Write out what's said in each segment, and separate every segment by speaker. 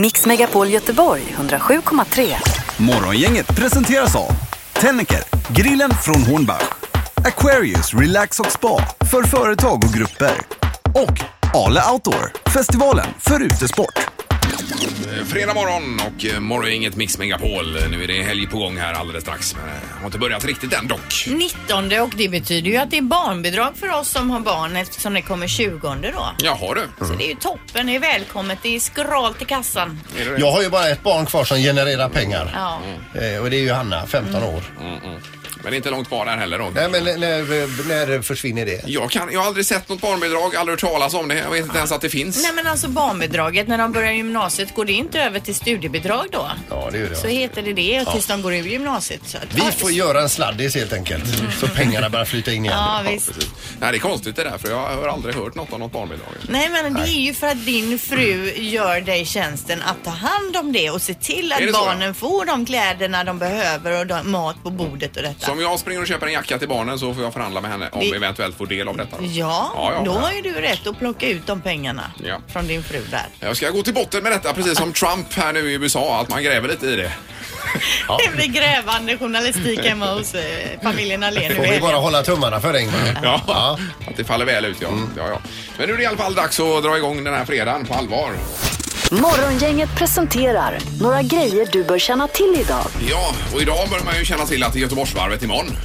Speaker 1: Mix Megapol Göteborg 107,3.
Speaker 2: Morgongänget presenteras av Tennecker, grillen från Hornbach Aquarius Relax och Spa för företag och grupper och Ale Outdoor, festivalen för utesport.
Speaker 3: Eh, Fredag morgon och eh, morgon inget Mix Megapol. Nu är det helg på gång här alldeles strax. Men eh, har inte börjat riktigt än dock.
Speaker 4: 19 och det betyder ju att det är barnbidrag för oss som har barn eftersom det kommer 20 då.
Speaker 3: Jaha du.
Speaker 4: Så det är ju toppen, det är välkommet, det är skralt i kassan.
Speaker 3: Är det det?
Speaker 5: Jag har ju bara ett barn kvar som genererar pengar.
Speaker 4: Ja. Mm.
Speaker 5: Eh, och det är ju Hanna, 15 år.
Speaker 3: Men det är inte långt kvar där heller då.
Speaker 5: Nej men när, när, när försvinner det?
Speaker 3: Jag, kan, jag har aldrig sett något barnbidrag, aldrig hört talas om det. Jag vet inte ens att det finns.
Speaker 4: Nej men alltså barnbidraget, när de börjar gymnasiet, går det inte över till studiebidrag då?
Speaker 5: Ja, det gör det.
Speaker 4: Så heter det det tills de går ur gymnasiet. Så att,
Speaker 5: Vi får göra en sladdis helt enkelt. Så pengarna börjar flyta in igen.
Speaker 4: Mm. Ja, visst.
Speaker 3: Precis. Nej, det är konstigt det där för jag har aldrig hört något om något barnbidrag.
Speaker 4: Nej men det är ju för att din fru gör dig tjänsten att ta hand om det och se till
Speaker 3: Är det
Speaker 4: att
Speaker 3: så?
Speaker 4: barnen får de kläderna de behöver och de, mat på bordet och detta.
Speaker 3: Så om jag springer och köper en jacka till barnen så får jag förhandla med henne om
Speaker 4: Vi-
Speaker 3: eventuellt får del av detta. Då.
Speaker 4: Ja,
Speaker 3: ja,
Speaker 4: då
Speaker 3: ja.
Speaker 4: har ju du rätt att plocka ut de pengarna
Speaker 3: Ja.
Speaker 4: från din fru där.
Speaker 3: Jag ska gå till botten med detta precis som Trump här nu i USA, att man gräver lite i det.
Speaker 4: Det blir grävande journalistik hemma hos eh, familjen Allén nu
Speaker 5: Får
Speaker 4: i
Speaker 5: vi
Speaker 4: helgen.
Speaker 5: bara hålla tummarna för Engman.
Speaker 3: Ja, att det faller väl ut ja.
Speaker 4: Mm.
Speaker 3: ja, ja. Men nu är det i alla fall dags att dra igång den här fredagen på allvar.
Speaker 1: Morgongänget presenterar några grejer du bör känna till idag.
Speaker 3: Ja, och idag börjar man ju känna till att det är Göteborgsvarvet imorgon.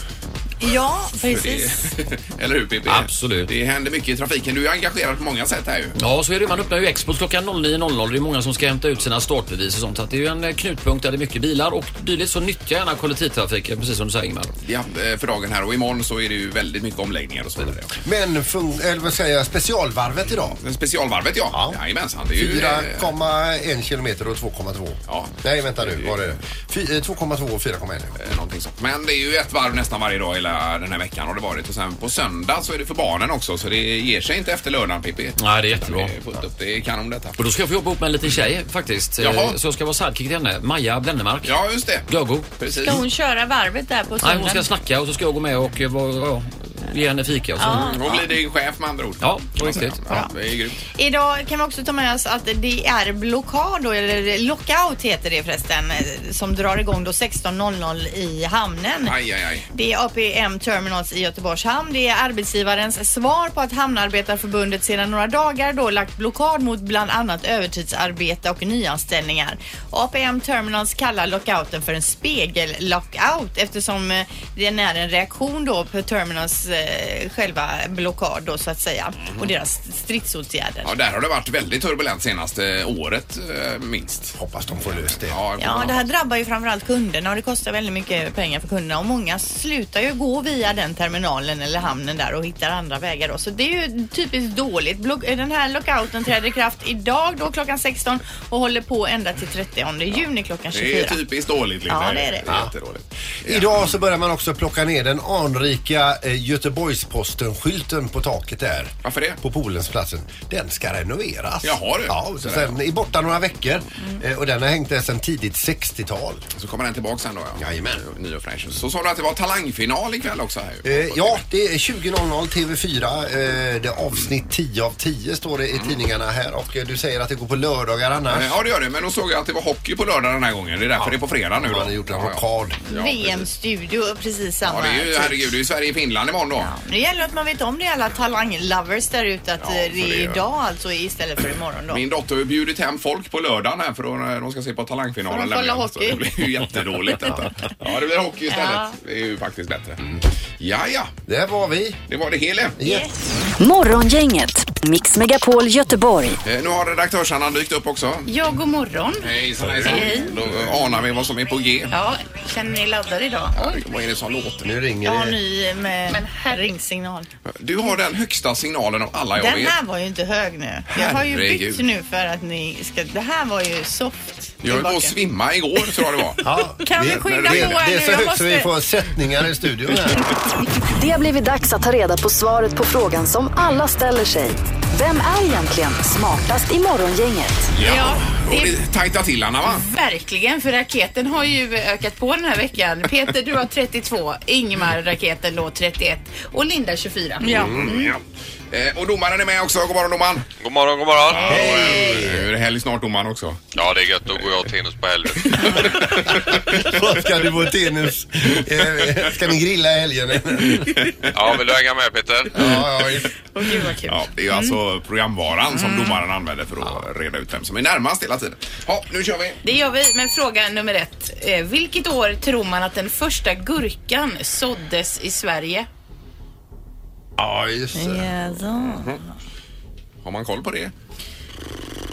Speaker 4: Ja,
Speaker 3: För det-
Speaker 4: precis.
Speaker 3: Eller hur PP?
Speaker 6: Absolut.
Speaker 3: Det händer mycket i trafiken. Du är engagerad på många sätt här ju.
Speaker 6: Ja, så är det. Man öppnar ju Expos klockan 09.00. Det är många som ska hämta ut sina startbevis och sånt. Så att det är ju en eh, knutpunkt där det är mycket bilar och dylikt. Så nyttja gärna kollektivtrafiken, precis som du säger Ingmar.
Speaker 3: Ja, eh, för dagen här och imorgon så är det ju väldigt mycket omläggningar och så vidare.
Speaker 5: Men fun- eller vad säger jag, specialvarvet idag.
Speaker 3: Men specialvarvet ja.
Speaker 5: Ja.
Speaker 3: Jajamensan. Det är ju... eh,
Speaker 5: 4,1 kilometer och 2,2.
Speaker 3: Ja.
Speaker 5: Nej vänta nu, var är det? Fy- eh, 2,2 och 4,1.
Speaker 3: eh, Någonting sånt. Men det är ju ett varv nästan varje dag hela den här veckan har det varit. Och sen på söndag så är det för barnen också så det ger sig inte efter lördagen Pippi.
Speaker 6: Nej, det är jättebra.
Speaker 3: Det är fullt upp. Det är kanon detta.
Speaker 6: Och då ska jag få jobba ihop med en liten tjej faktiskt. Eh,
Speaker 3: Jaha.
Speaker 6: Så jag ska vara sidekick till henne. Maja Blennemark.
Speaker 3: Ja, just det.
Speaker 6: Gago.
Speaker 3: Precis.
Speaker 4: Ska hon köra varvet där
Speaker 6: Nej,
Speaker 4: på
Speaker 6: hon
Speaker 4: söndagen?
Speaker 6: ska snacka och så ska jag gå med och eh, vara- ja, ge henne fika och så.
Speaker 3: Då blir det ju chef med andra ord.
Speaker 6: Ja, på riktigt.
Speaker 3: Ja, det är grymt.
Speaker 4: Idag kan vi också ta med oss att det är blockad, då, eller lockout heter det förresten, eh, som drar igång då 16.00 i hamnen.
Speaker 3: Aj, aj, aj.
Speaker 4: Det är APM Terminals i Göteborgs hamn. Det är arbetsgivarens svar på att Hamnarbetarförbundet sedan några dagar då lagt blockad mot bland annat övertidsarbete och nyanställningar. APM Terminals kallar lockouten för en spegellockout eftersom eh, den är en reaktion då på Terminals eh, själva blockad då så att säga och deras stridsåtgärder.
Speaker 3: Ja, där har det varit väldigt turbulent senaste året eh, minst.
Speaker 5: Hoppas de får löst det.
Speaker 3: Ja,
Speaker 4: Ja, det här drabbar ju framförallt kunderna och det kostar väldigt mycket pengar för kunderna och många slutar ju gå via den terminalen eller hamnen där och hittar andra vägar då. Så det är ju typiskt dåligt. Block- Den här lockouten träder i kraft idag då klockan 16 och håller på ända till 30 juni klockan
Speaker 3: det
Speaker 4: 24.
Speaker 3: är typ- typiskt dåligt. liksom. Linda.
Speaker 4: Ja, det är det.
Speaker 3: jättedåligt.
Speaker 5: Idag så börjar man också plocka ner den anrika eh, Göteborgsposten-skylten på taket där.
Speaker 3: Varför det?
Speaker 5: På Polensplatsen. Den ska renoveras.
Speaker 3: Jaha, du.
Speaker 5: Ja, så
Speaker 3: Sådär. Mm.
Speaker 5: sen är borta några veckor eh, och den har hängt där sedan tidigt 60-tal.
Speaker 3: Så kommer den tillbaka sen då ja.
Speaker 5: Jajamän.
Speaker 3: Ny och fräsch. Så sa du att det var talangfinal ikväll också här ju.
Speaker 5: Eh, ja, det är 20.00 TV4. Eh, det är avsnitt 10 av 10 står det i tidningarna här och eh, du säger att det går på lördagar annars.
Speaker 3: Eh, Mm. Ja det gör det, men då såg jag att det var hockey på lördag den här gången. Det är därför det är på fredag nu då.
Speaker 5: Man har gjort en
Speaker 3: Ja, ja.
Speaker 5: rockad.
Speaker 3: Ja, precis.
Speaker 4: VM-studio precis samma
Speaker 3: Ja, det är ju,
Speaker 4: tid.
Speaker 3: herregud, det är ju Sverige-Finland imorgon då.
Speaker 4: Det gäller att man vet om det alla talanglovers där ute att
Speaker 3: Ja,
Speaker 4: eh,
Speaker 3: för
Speaker 4: det
Speaker 3: det
Speaker 4: är
Speaker 3: är-
Speaker 4: idag alltså istället för imorgon då.
Speaker 3: Min dotter har ju bjudit hem folk på lördagen här för eh, de, de ska se på talangfinalen.
Speaker 4: Får de kolla
Speaker 3: nämligen.
Speaker 4: hockey?
Speaker 3: Så det blir ju jättedåligt detta. Ja, Mm. det blir hockey istället. Det är ju faktiskt bättre. Ja, ja,
Speaker 5: Där var vi.
Speaker 3: det var det hela.
Speaker 1: Morgongänget, Mix Megapol Göteborg.
Speaker 3: Eh, Nu har redaktörsarna dykt upp också.
Speaker 7: Ja, god morgon.
Speaker 3: Hejsan, hejsan. Då eh, anar vi vad som är på G.
Speaker 4: Ja, känner ni laddade idag?
Speaker 3: Oj, Vad är det som låter?
Speaker 5: Nu ringer
Speaker 4: Jag har
Speaker 5: det.
Speaker 4: ny med
Speaker 7: Men herregud.
Speaker 4: ringsignal.
Speaker 3: Du har den högsta signalen av alla jag
Speaker 4: Den
Speaker 3: vet.
Speaker 4: här var ju inte hög nu. Jag har ju
Speaker 3: Herregud.
Speaker 4: bytt nu för att ni ska... Det här var ju soft.
Speaker 3: Jag höll på att
Speaker 4: tillbaka.
Speaker 3: svimma igår tror jag det var.
Speaker 5: Ja,
Speaker 4: Kan vi
Speaker 5: det-
Speaker 4: skynda
Speaker 5: det,
Speaker 4: på här
Speaker 5: Det är
Speaker 4: nu?
Speaker 5: så
Speaker 4: Jag
Speaker 5: högt så vi
Speaker 4: måste-
Speaker 5: får sättningar i studion här.
Speaker 1: Det har blivit dags att ta reda på svaret på frågan som alla ställer sig. Vem är egentligen smartast i morgongänget?
Speaker 7: Ja,
Speaker 3: Och
Speaker 7: det är
Speaker 3: det tajta till Anna va?
Speaker 7: verkligen, för raketen har ju eh, ökat på den här veckan. Peter, du har 32. Ingemar, raketen, då 31. Och Linda 24.
Speaker 4: Ja.
Speaker 3: Mm, ja. Eh, Och domaren är med också. God morgon domaren.
Speaker 8: God morgon, god morgon.
Speaker 3: Nu är det helg snart domaren också.
Speaker 8: Ja, det är gött. Då går jag och tennis på helgen.
Speaker 5: Vad ska du på tennis? Eh, Ska ni grilla i helgen?
Speaker 8: Ja, vill du hänga med Peter?
Speaker 5: Ja, ja, visst.
Speaker 4: Åh gud vad kul.
Speaker 3: Ja, det är ju alltså programvaran
Speaker 4: Mm.
Speaker 3: som domaren använder för att reda ut vem som är närmast hela tiden. Ja, nu kör vi.
Speaker 7: Det gör vi med fråga nummer ett. Eh, vilket år tror man att den första gurkan såddes i Sverige?
Speaker 5: ja just det.
Speaker 4: Jaså.
Speaker 3: Har man koll på det?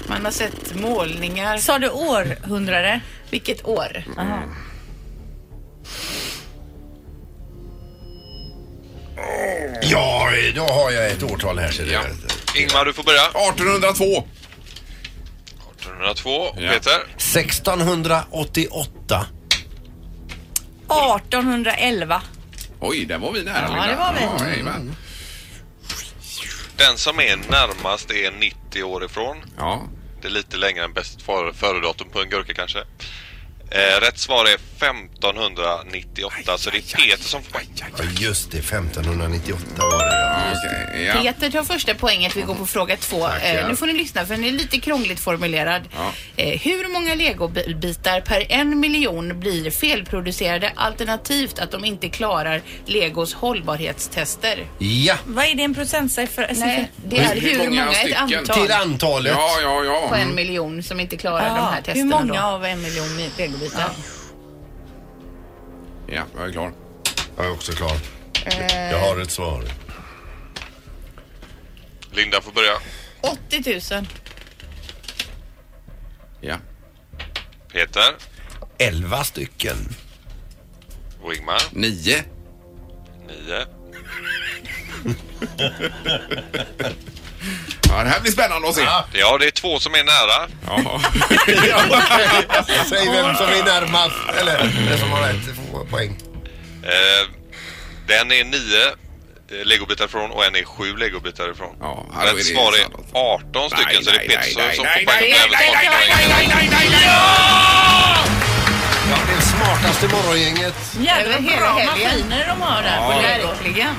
Speaker 7: Man har sett målningar.
Speaker 4: Sa du århundrade?
Speaker 7: Vilket år?
Speaker 5: Ja, då har jag ett årtal här. ser du.
Speaker 8: Ja. Ingmar, du får börja.
Speaker 3: 1802.
Speaker 8: 1802. Och
Speaker 3: Ja.
Speaker 8: Peter?
Speaker 5: 1688.
Speaker 4: 1811.
Speaker 3: Oj, där var vi nära.
Speaker 4: Ja,
Speaker 3: Linda.
Speaker 4: det var vi. Mm.
Speaker 3: Ja, jajamän.
Speaker 8: Den som är närmast är 90 år ifrån.
Speaker 3: ja.
Speaker 8: Det är lite längre än bäst före- före-datum på en gurka kanske. Eh, rätt svar är 1598, så det är Peter som får poäng.
Speaker 5: Ja, just det. 1598 var det. ja.
Speaker 3: Okej, ja.
Speaker 7: Peter tar första poänget. Vi går på fråga två. Eh, nu får ni lyssna för den är lite krångligt formulerad.
Speaker 3: Ja.
Speaker 7: Eh, hur många legobitar per en miljon blir felproducerade alternativt att de inte klarar Legos hållbarhetstester?
Speaker 5: Ja,
Speaker 4: Vad är det en procentsiffra? Alltså,
Speaker 7: Nej, det är hur många, ett
Speaker 3: stycken?
Speaker 7: antal
Speaker 5: till antalet.
Speaker 3: Ja, ja,
Speaker 7: på
Speaker 3: ja.
Speaker 7: en miljon som inte klarar de här
Speaker 4: Ah, Mm. hur
Speaker 7: testerna.
Speaker 4: många
Speaker 7: Då.
Speaker 4: av en miljon mi- legobitar?
Speaker 3: Ja, jag är klar.
Speaker 5: Jag är också klar.
Speaker 3: Eh.
Speaker 5: Jag har ett svar.
Speaker 8: Linda får börja.
Speaker 4: 80 000.
Speaker 3: Ja.
Speaker 8: Peter
Speaker 5: 11 stycken.
Speaker 8: och Ingmar.
Speaker 3: Nio.
Speaker 8: Nio.
Speaker 3: Ja, det här blir spännande att se. Ja.
Speaker 8: Ja, det är två som är nära.
Speaker 5: Säg vem som är närmast. Eller den som har rätt får poäng.
Speaker 8: Eh, den är nio eh, legobitar ifrån och en är sju legobitar ifrån.
Speaker 3: Ja, här är det
Speaker 8: Rätt svar är
Speaker 3: sant.
Speaker 8: 18 stycken
Speaker 3: Nej,
Speaker 8: så det är
Speaker 3: nej,
Speaker 8: Peter
Speaker 3: nej,
Speaker 8: som
Speaker 3: nej,
Speaker 8: som
Speaker 3: nej,
Speaker 8: får poäng.
Speaker 3: nej,
Speaker 8: och även
Speaker 3: nej,
Speaker 8: tar
Speaker 3: nej,
Speaker 8: poäng.
Speaker 3: nej, nej, nej, nej, nej,
Speaker 5: Ja, det är smartaste morgongänget.
Speaker 4: Jävlar
Speaker 7: Över
Speaker 4: vad
Speaker 7: hela
Speaker 4: bra
Speaker 7: helgen.
Speaker 4: maskiner de har där på Lego.
Speaker 7: Verkligen.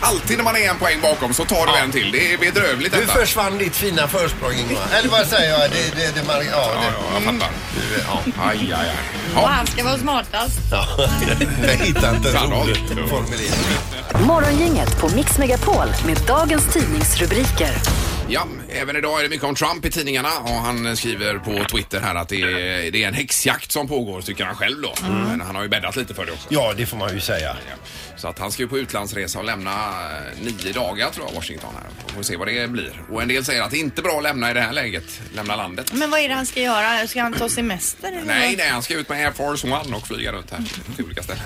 Speaker 3: Alltid när man är en poäng bakom så tar du en till. Det är bedrövligt
Speaker 5: Nu
Speaker 3: detta.
Speaker 5: försvann ditt fina försprång Ingmar. Eller vad säger jag? Det, det, det, mar- ja,
Speaker 3: Ja,
Speaker 5: det.
Speaker 3: ja, jag
Speaker 8: Mm.
Speaker 3: fattar. Ja. Aj, aj, aj.
Speaker 4: Och
Speaker 3: Ja.
Speaker 4: han ska vara smartast.
Speaker 5: Jag hittar inte en
Speaker 3: Sannolikt.
Speaker 5: rolig formulering.
Speaker 1: Morgongänget på Mix Megapol med dagens tidningsrubriker.
Speaker 3: ja, även idag är det mycket om Trump i tidningarna och han skriver på Twitter här att det är, det är en häxjakt som pågår, tycker han själv då.
Speaker 8: Mm.
Speaker 3: Men han har ju bäddat lite för det också.
Speaker 5: Ja, det får man ju säga.
Speaker 3: Så att han ska ju på utlandsresa och lämna eh, nio dagar tror jag, Washington här. Och får se vad det blir. Och en del säger att det är inte bra att lämna i det här läget, lämna landet.
Speaker 4: Men vad är det han ska göra? Ska han ta semester? Eller
Speaker 3: Nej,
Speaker 4: vad?
Speaker 3: nej, han ska ut med Air Force One och flyga runt här till olika ställen.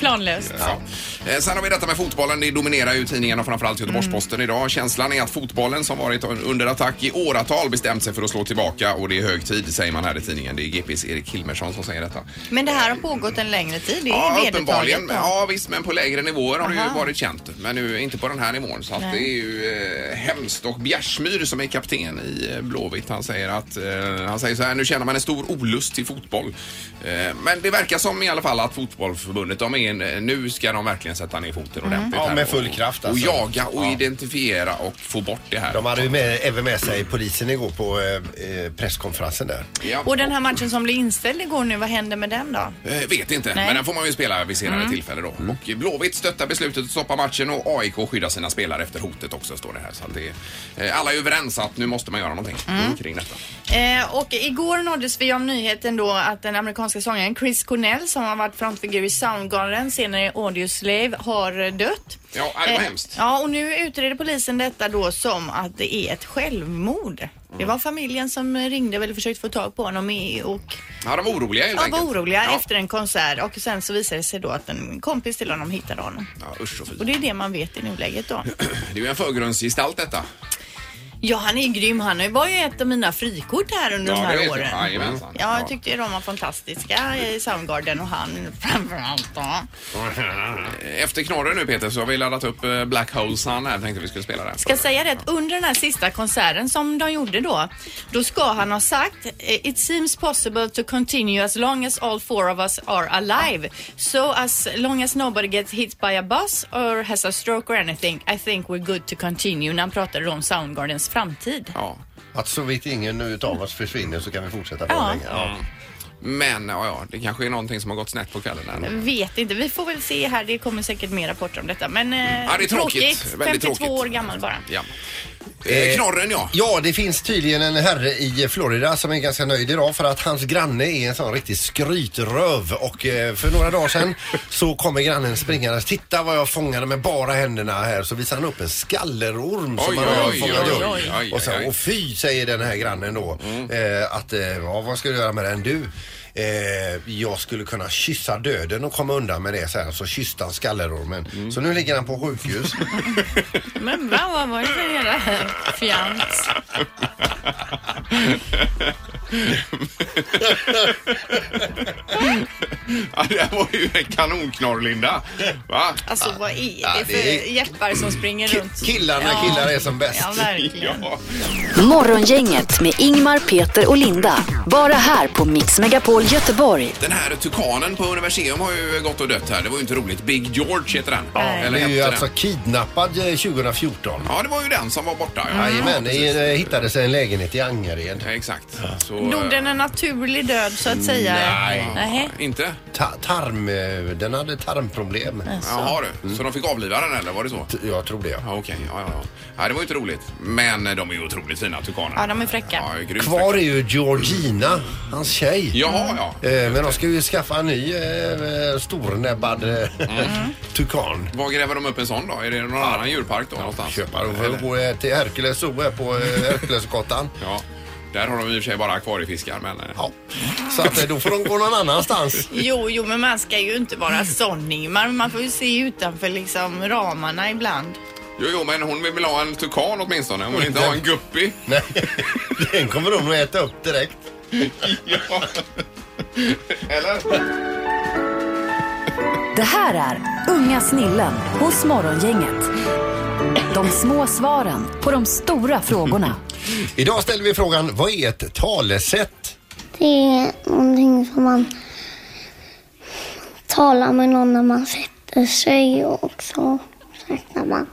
Speaker 4: Planlöst.
Speaker 3: Ja. Eh, Sen har vi detta med fotbollen. Det dominerar ju tidningarna, framförallt Göteborgs-Posten idag. Känslan är att fotbollen som varit under attack i åratal bestämt sig för att slå tillbaka och det är hög tid, säger man här i tidningen. Det är GPs Erik Hilmersson som säger detta.
Speaker 4: Men det här har pågått en längre tid. Det är
Speaker 3: Ja,
Speaker 4: vedertaget.
Speaker 3: uppenbarligen.
Speaker 4: då.
Speaker 3: Ja, visst, men på lägre nivåer har det ju
Speaker 4: Aha.
Speaker 3: varit känt. Men nu inte på den här nivån. Så att
Speaker 4: Nej.
Speaker 3: det är ju eh, hemskt. Och Bjärsmyr som är kapten i eh, Blåvitt, han säger att eh, han säger så här, nu känner man en stor olust till fotboll. Eh, men det verkar som i alla fall att fotbollförbundet, de är en, eh, nu ska de verkligen sätta ner foten ordentligt.
Speaker 5: Mm. Ja,
Speaker 3: här
Speaker 5: med
Speaker 3: och-
Speaker 5: full kraft
Speaker 3: Och
Speaker 5: alltså.
Speaker 3: jaga och
Speaker 5: Ja.
Speaker 3: identifiera och få bort det här.
Speaker 5: De hade ju med, även med sig polisen igår på eh, eh, presskonferensen där.
Speaker 3: Ja.
Speaker 4: Och den här matchen som blev inställd igår nu, vad händer med den då?
Speaker 3: Eh, vet inte,
Speaker 4: Nej. Mm.
Speaker 3: men den får man ju spela vid senare tillfälle då. Och Blåvitt stöttar beslutet att stoppa matchen och AIK skyddar sina spelare efter hotet också, står det här. Så att det, är- eh, alla är överens att nu måste man göra någonting
Speaker 4: Mm.
Speaker 3: Mm, kring detta.
Speaker 4: Eh, och igår nåddes vi om nyheten då att den amerikanska sångaren Chris Cornell som har varit frontfigur i Soundgarden, senare i Audioslave, har eh, dött.
Speaker 3: Ja, det var hemskt.
Speaker 4: Ja, och nu utreder polisen detta då som att det är ett självmord.
Speaker 3: Mm.
Speaker 4: Det var familjen som ringde väl och försökte få tag på honom i, och
Speaker 3: Ja, de var oroliga helt
Speaker 4: ja, var
Speaker 3: enkelt.
Speaker 4: oroliga
Speaker 3: ja.
Speaker 4: efter en konsert och sen så visade det sig då att en kompis till honom hittade honom.
Speaker 3: Ja, usch och fy.
Speaker 4: Och det är det man vet i nuläget då.
Speaker 3: Det är ju en förgrundsgestalt detta.
Speaker 4: Ja, han är grym. Han var ju ett av mina frikort här under
Speaker 3: Ja, det
Speaker 4: de
Speaker 3: vet
Speaker 4: här
Speaker 3: jag.
Speaker 4: åren.
Speaker 3: Jajamensan.
Speaker 4: ja,
Speaker 3: Ja.
Speaker 4: jag tyckte ju de var fantastiska i Soundgarden och han framförallt. då.
Speaker 3: Efter knorren nu Peter så har vi laddat upp eh, Black Hole Sun här. Tänkte vi skulle spela den.
Speaker 4: Ska säga det att under den här sista konserten som de gjorde då, då ska han ha sagt eh, It seems possible to continue as long as all four of us are alive. So as long as nobody gets hit by a bus or has a stroke or anything, I think we're good to continue. När han pratade om Soundgardens framtid.
Speaker 3: Ja.
Speaker 5: Att så vitt ingen utav oss försvinner så kan vi fortsätta bra
Speaker 4: Ja.
Speaker 5: länge. Ja.
Speaker 3: Men ja, ja, det kanske är någonting som har gått snett på kvällen. Där.
Speaker 4: Vet inte. Vi får väl se här. Det kommer säkert mer rapporter om detta. Men eh,
Speaker 3: Ja, det är tråkigt. Väldigt
Speaker 4: 52
Speaker 3: tråkigt.
Speaker 4: år gammal bara.
Speaker 3: Ja. Eh, knorren ja.
Speaker 5: Ja, det finns tydligen en herre i Florida som är ganska nöjd idag för att hans granne är en sån riktig skrytröv och eh, för några dagar sedan så kommer grannen springandes. Titta vad jag fångade med bara händerna här. Så visar han upp en skallerorm som
Speaker 3: Oj,
Speaker 5: han har
Speaker 3: oj,
Speaker 5: fångat
Speaker 3: oj,
Speaker 5: upp.
Speaker 3: oj, oj,
Speaker 5: och,
Speaker 3: oj. Mm.
Speaker 5: sen, och fy säger den här grannen då eh, att eh, ja, vad ska du göra med den du? Eh, jag skulle kunna kyssa döden och komma undan med det sen. Så kysste han skallerormen.
Speaker 3: Mm.
Speaker 5: Så nu ligger han på sjukhus.
Speaker 4: Men va, vad var det för jävla fjant?
Speaker 3: ja. Det här var ju en kanonknorr Linda. Va?
Speaker 4: Alltså vad är
Speaker 5: Ja,
Speaker 4: det
Speaker 5: det
Speaker 4: för
Speaker 5: är-
Speaker 4: jeppar som springer runt?
Speaker 5: Killar när
Speaker 4: Ja.
Speaker 5: killar är som bäst.
Speaker 4: Ja, verkligen.
Speaker 3: Ja.
Speaker 1: Morgongänget med Ingmar, Peter och Linda. Bara här på Mix Megapol Göteborg.
Speaker 3: Den här tukanen på Universium har ju gått och dött här. Det var ju inte roligt. Big George heter den.
Speaker 5: Det är ju
Speaker 3: hette
Speaker 5: alltså
Speaker 3: den.
Speaker 5: kidnappad eh, 2014.
Speaker 3: Ja, det var ju den som var borta. Ja.
Speaker 5: Jajamän, det eh, hittades en lägenhet i Angered.
Speaker 3: Ja, Exakt. Så,
Speaker 4: Dog den
Speaker 3: eh,
Speaker 4: en naturlig död så att säga?
Speaker 3: Nej.
Speaker 4: Nähä.
Speaker 3: Inte?
Speaker 5: Ta- tarm, eh, den hade tarmproblem.
Speaker 4: Alltså.
Speaker 3: Jaha du.
Speaker 5: Mm.
Speaker 3: Så de fick avliva den eller var det så?
Speaker 5: T- Jag tror det.
Speaker 3: Ja, okej. Ja, ja, ja. Nej, det var ju inte roligt. Men eh, de är ju otroligt fina, tukanerna.
Speaker 4: Ja, de är fräcka.
Speaker 3: Ja, är grymt
Speaker 5: Kvar
Speaker 3: fräcka.
Speaker 5: är ju Georgina, hans tjej.
Speaker 3: Jaha, ja.
Speaker 5: Eh, Men de ska ju skaffa en ny eh, stornäbbad eh,
Speaker 3: Mm.
Speaker 5: tukan.
Speaker 3: Var gräver de upp en sån då? Är det någon annan djurpark då någonstans?
Speaker 5: Köpa dem för att gå eh, till Herkules Zoo här på eh, Herkulesgatan.
Speaker 3: Ja. Där har de i och för sig bara akvariefiskar, men... eh,
Speaker 5: Ja. Så att eh, då får de gå någon annanstans.
Speaker 4: Jo, jo, men man ska ju inte vara sån Ingmar. Man får ju se utanför liksom ramarna ibland.
Speaker 3: Jo, jo, men hon vill väl ha en tukan åtminstone. Hon vill inte ha en guppy.
Speaker 5: Nej, den kommer de att äta upp direkt.
Speaker 3: Ja. Eller?
Speaker 1: Det här är Unga snillen hos Morgongänget. De små svaren på de stora frågorna.
Speaker 5: Idag ställer vi frågan, vad är ett talesätt?
Speaker 9: Det är någonting som man talar med någon när man sätter sig och så räknar man.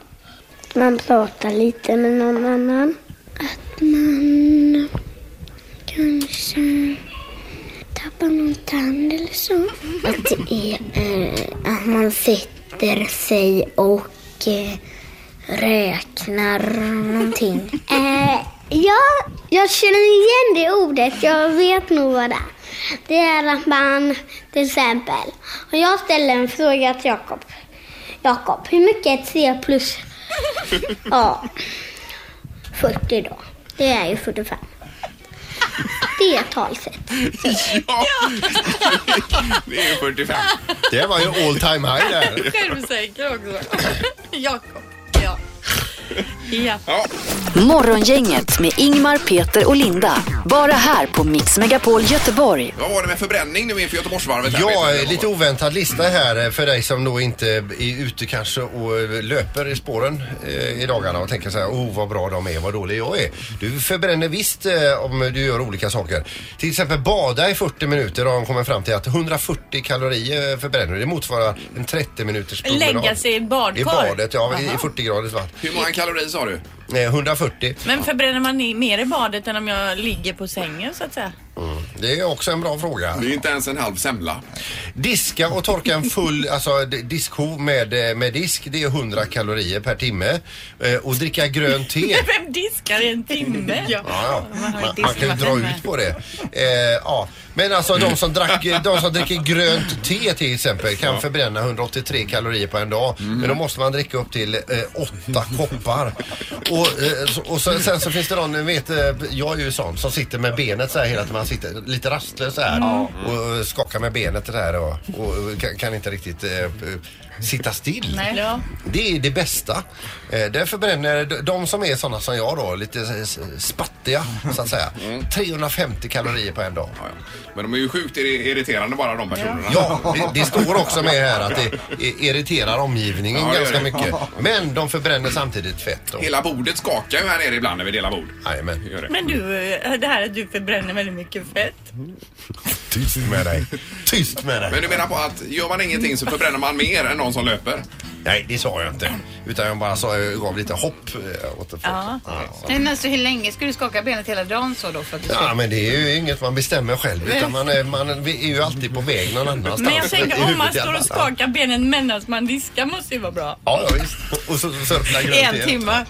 Speaker 9: Man pratar lite med någon annan. Att man kanske tappar någon tand eller så. Att, det är, eh, att man sätter sig och eh, räknar någonting.
Speaker 10: Eh, ja, jag känner igen det ordet. Jag vet nog vad det är. Det är att man, till exempel, om jag ställer en fråga till Jakob. Jakob, hur mycket är 3 plus? ja, 40 då. Det är ju 45. Det är talsätt.
Speaker 3: Ja! Det är ju 45.
Speaker 5: Det var ju all time high där.
Speaker 4: Självsäker också. Jakob. Ja. Ja.
Speaker 3: Ja.
Speaker 1: Morgongänget med Ingmar, Peter och Linda. Bara här på Mix Megapol Göteborg.
Speaker 3: Vad var det med förbränning nu inför Göteborgsvarvet? här,
Speaker 5: Ja,
Speaker 3: Peter?
Speaker 5: eh, lite oväntad lista här eh, för dig som då inte är ute kanske och eh, löper i spåren eh, i dagarna och tänker så här, oh vad bra de är, vad dålig jag är. Du förbränner visst eh, om du gör olika saker. Till exempel bada i 40 minuter har de kommit fram till att 140 kalorier förbränner du. Det motsvarar en 30 minuters promenad.
Speaker 4: Lägga sig i ett
Speaker 5: I
Speaker 4: badkar.
Speaker 5: badet, ja, i- i 40 graders vatten.
Speaker 3: Hur många kalorier sa du?
Speaker 5: Eh, 140.
Speaker 4: Men förbränner man i- mer i badet än om jag ligger på sängen så att säga?
Speaker 5: Mm, Det är också en bra fråga.
Speaker 3: Det är inte ens en halv semla.
Speaker 5: Diska och torka en full alltså, d- diskhov med, eh, med disk, det är 100 kalorier per timme. Eh, och dricka grönt te.
Speaker 4: Vem diskar i en timme?
Speaker 5: Ja, ja.
Speaker 4: Man har
Speaker 5: Man,
Speaker 4: ju
Speaker 5: man kan ju dra
Speaker 4: diskmaskin med.
Speaker 5: ut på det. Eh, ja. Men alltså de som, drack, de som dricker grönt te till exempel kan förbränna 183 kalorier på en dag. Men då måste man dricka upp till eh, åtta koppar. Och, eh, så- och så, sen så finns det någon, ni vet, eh, jag är ju sån som sitter med benet så här hela tiden. Man sitter lite rastlös så här och eh, skakar med benet så här och, och kan, kan inte riktigt eh, eh, sitta still.
Speaker 11: Nej. Ja.
Speaker 5: Det är det bästa. Eh, därför bränner de- de som är sådana som jag då, lite s- spattiga så att säga, 350 kalorier på en dag.
Speaker 3: Mm. Ja, ja. Men de är ju sjukt irri- irriterande bara de personerna.
Speaker 5: Ja, det, det står också med här att det i- irriterar omgivningen
Speaker 3: Ja, det gör
Speaker 5: ganska
Speaker 3: det.
Speaker 5: mycket. Men de förbränner samtidigt fett. Och,
Speaker 3: Hela bordet skakar ju här nere ibland när vi delar bord.
Speaker 5: Jajamän.
Speaker 3: Gör det.
Speaker 4: Men du, eh, det här att du förbränner väldigt mycket fett.
Speaker 5: Tyst med dig. Tyst med dig.
Speaker 3: Men du menar på att gör man ingenting så förbränner man mer än någon som löper?
Speaker 5: Nej, det sa jag inte. Utan jag bara sa, jag gav lite hopp eh, åt folk. Ja.
Speaker 7: Men alltså hur länge ska du skaka benet hela dagen så då? För att du ska...
Speaker 5: ja, men det är ju inget man bestämmer själv. Utan man är, man är ju alltid på väg någon annanstans.
Speaker 4: Men jag
Speaker 5: I
Speaker 4: tänker om
Speaker 5: huvudet
Speaker 4: man
Speaker 5: i alla
Speaker 4: står och
Speaker 5: fall.
Speaker 4: skakar benen medan man diskar måste ju vara bra.
Speaker 5: Ja, ja visst. Och så sörplar grönt
Speaker 4: En
Speaker 5: igen.
Speaker 4: timme.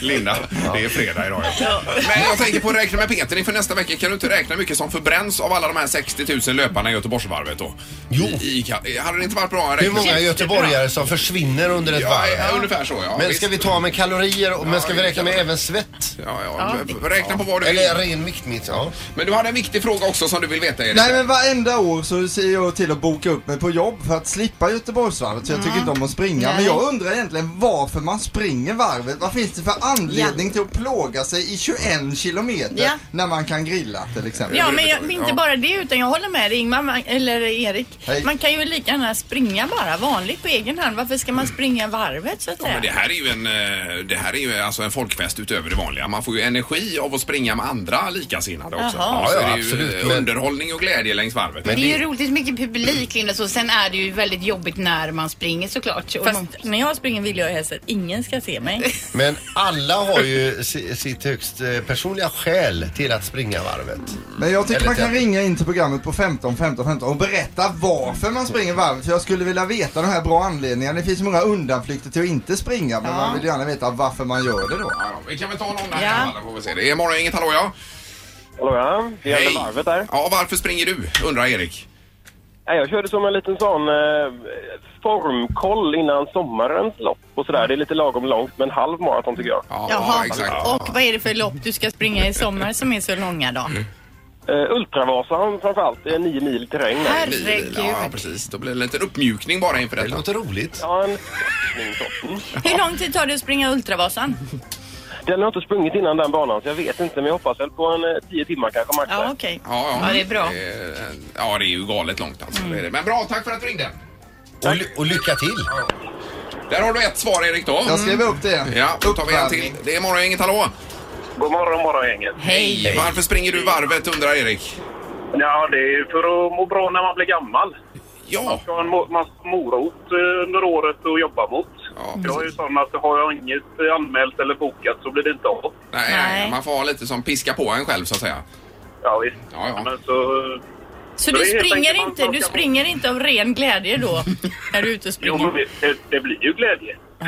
Speaker 3: Linda, det är fredag idag. Ja. Men jag tänker på Räkna med Peter inför nästa vecka. Kan du inte räkna hur mycket som förbränns av alla de här 60 000 löparna i Göteborgsvarvet då?
Speaker 5: Jo.
Speaker 3: I, i, hade det inte varit bra att
Speaker 5: Hur
Speaker 3: räkna?
Speaker 5: många göteborgare som försvinner under ett
Speaker 3: Ja, ja,
Speaker 5: varv?
Speaker 3: ungefär så ja.
Speaker 5: Men
Speaker 3: Visst.
Speaker 5: ska vi ta med kalorier? och- Men ska vi
Speaker 3: det
Speaker 5: räkna
Speaker 3: kan
Speaker 5: med
Speaker 3: vi.
Speaker 5: även svett?
Speaker 3: Ja, ja. Räkna på vad du vill.
Speaker 5: Eller ren viktmitt? Ja.
Speaker 3: Men du hade en viktig fråga också som du vill veta Erik.
Speaker 12: Nej men varenda år så ser jag till att boka upp mig på jobb för att slippa Göteborgsvarvet så jag tycker inte om att springa. Men jag undrar egentligen varför man springer varvet. Vad finns det för anledning till att plåga sig i 21 kilometer
Speaker 4: Ja.
Speaker 12: när man kan grilla till exempel?
Speaker 4: Ja, men jag, men inte bara det utan jag håller med dig Ingmar, man, eller Erik.
Speaker 12: Hej.
Speaker 4: Man kan ju lika gärna springa bara vanligt på egen hand. Varför ska man springa varvet så att
Speaker 3: Ja,
Speaker 4: säga?
Speaker 3: men det här är ju en, eh, det här är ju alltså en folkfest utöver det vanliga. Man får ju energi av att springa med andra likasinnade också.
Speaker 4: Jaha.
Speaker 3: Så
Speaker 5: Ja, ja,
Speaker 3: det är
Speaker 5: absolut,
Speaker 3: ju eh,
Speaker 5: men-
Speaker 3: underhållning och glädje längs varvet.
Speaker 7: Det är ju roligt mycket publik Linda, så sen är det ju väldigt jobbigt när man springer såklart. Och man-
Speaker 4: Fast när jag springer vill jag helst att ingen ska se mig.
Speaker 5: Men alla har ju si- sitt högst eh, personliga skäl till att springa varvet.
Speaker 12: Men jag tycker
Speaker 5: Eller
Speaker 12: man kan
Speaker 5: tävling.
Speaker 12: ringa in till programmet på 15 15 15 och berätta varför man springer varvet. För jag skulle vilja veta de här bra anledningarna. Det finns många undanflykter till att inte springa men man vill gärna veta varför man gör det då.
Speaker 3: Ja, då, vi kan väl ta någon där
Speaker 4: Ja.
Speaker 3: ja. får vi se. Det är morgon, inget hallå ja.
Speaker 13: Hallå ja, det gäller
Speaker 3: Hej.
Speaker 13: varvet där.
Speaker 3: Ja, varför springer du? Undrar Erik.
Speaker 13: Nej, Jag körde som en liten sån eh, formkoll innan sommarens lopp och sådär. Det är lite lagom långt, men halv maraton tycker jag.
Speaker 3: Ja,
Speaker 4: Jaha.
Speaker 3: exakt.
Speaker 4: Och vad är det för lopp du ska springa i sommar som är så långa då?
Speaker 13: Eh, Ultravasan framförallt, det är nio mil terräng. där.
Speaker 4: Herregud.
Speaker 3: Ja, precis. Då blir det en liten uppmjukning bara inför
Speaker 5: Det
Speaker 3: detta.
Speaker 5: låter roligt.
Speaker 13: Ja, en f***ning så. Mm.
Speaker 4: Hur lång tid tar det att springa Ultravasan?
Speaker 13: Den har jag inte sprungit innan den banan, så jag vet inte. Men jag hoppas väl på en eh, tio timmar kanske max.
Speaker 4: Ja, okej.
Speaker 3: Ja,
Speaker 7: Ja, det är bra.
Speaker 3: Eh, Ja, det är ju galet långt alltså.
Speaker 4: Mm.
Speaker 3: Det är det. Men bra, tack för att du ringde.
Speaker 5: Och, ly- och lycka till.
Speaker 3: Där har du ett svar Erik då.
Speaker 12: Jag skriver upp det.
Speaker 3: Ja, då tar vi en till.
Speaker 12: Uppvärmning.
Speaker 3: Det är morgon, inget hallå.
Speaker 13: God morgon, morgon gänget.
Speaker 3: Hej. Varför springer du varvet undrar Erik?
Speaker 13: Ja, det är för att må bra när man blir gammal.
Speaker 3: Ja.
Speaker 13: Jag har en mo- massa morot eh, under året att jobba mot.
Speaker 3: Ja,
Speaker 13: jag är ju
Speaker 3: precis.
Speaker 13: sån att har jag inget eh, anmält eller bokat så blir det inte av.
Speaker 3: Nej,
Speaker 4: Nej.
Speaker 3: nej, man får ha lite som piska på en själv så att säga.
Speaker 13: Ja, visst.
Speaker 3: Ja, ja.
Speaker 13: Men så... eh,
Speaker 4: Så
Speaker 13: Det
Speaker 4: du
Speaker 13: är helt
Speaker 4: springer,
Speaker 13: enkelt
Speaker 4: inte,
Speaker 13: man
Speaker 4: du
Speaker 13: ska-
Speaker 4: springer inte av ren glädje då? När du är ute och
Speaker 13: Jo, men
Speaker 4: springer?
Speaker 13: det, det blir ju glädje.
Speaker 4: Ja.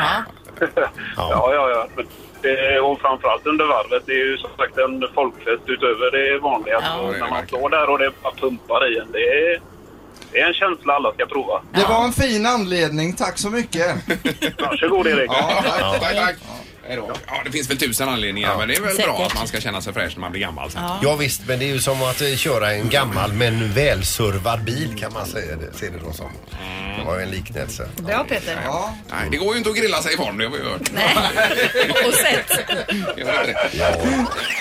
Speaker 13: Ja, ja, ja. Men Det, Eh, och framförallt under varvet. Det är ju som sagt en folkfest utöver det vanliga.
Speaker 4: Ja.
Speaker 13: Så
Speaker 3: Ja, det är
Speaker 13: när
Speaker 3: verkligen.
Speaker 13: man står där och det bara pumpar i en. Det är, det är en känsla alla ska prova.
Speaker 12: Det var en fin anledning, tack så mycket.
Speaker 13: Varsågod Erik.
Speaker 12: Ja, tack.
Speaker 3: Ja, tack, tack. Hej då. Ja, det finns väl tusen anledningar, men det är väl bra
Speaker 4: Säkert.
Speaker 3: att man ska känna sig fräsch när man blir gammal sen.
Speaker 5: Ja visst, men det är ju som att eh, köra en gammal men välsurvad bil kan man säga det, se det då som. Det var ju en liknelse.
Speaker 7: Bra Peter.
Speaker 12: Ja.
Speaker 3: Nej, det går ju inte att grilla sig i form, det har vi hört.
Speaker 4: Och sett.
Speaker 3: Gör det.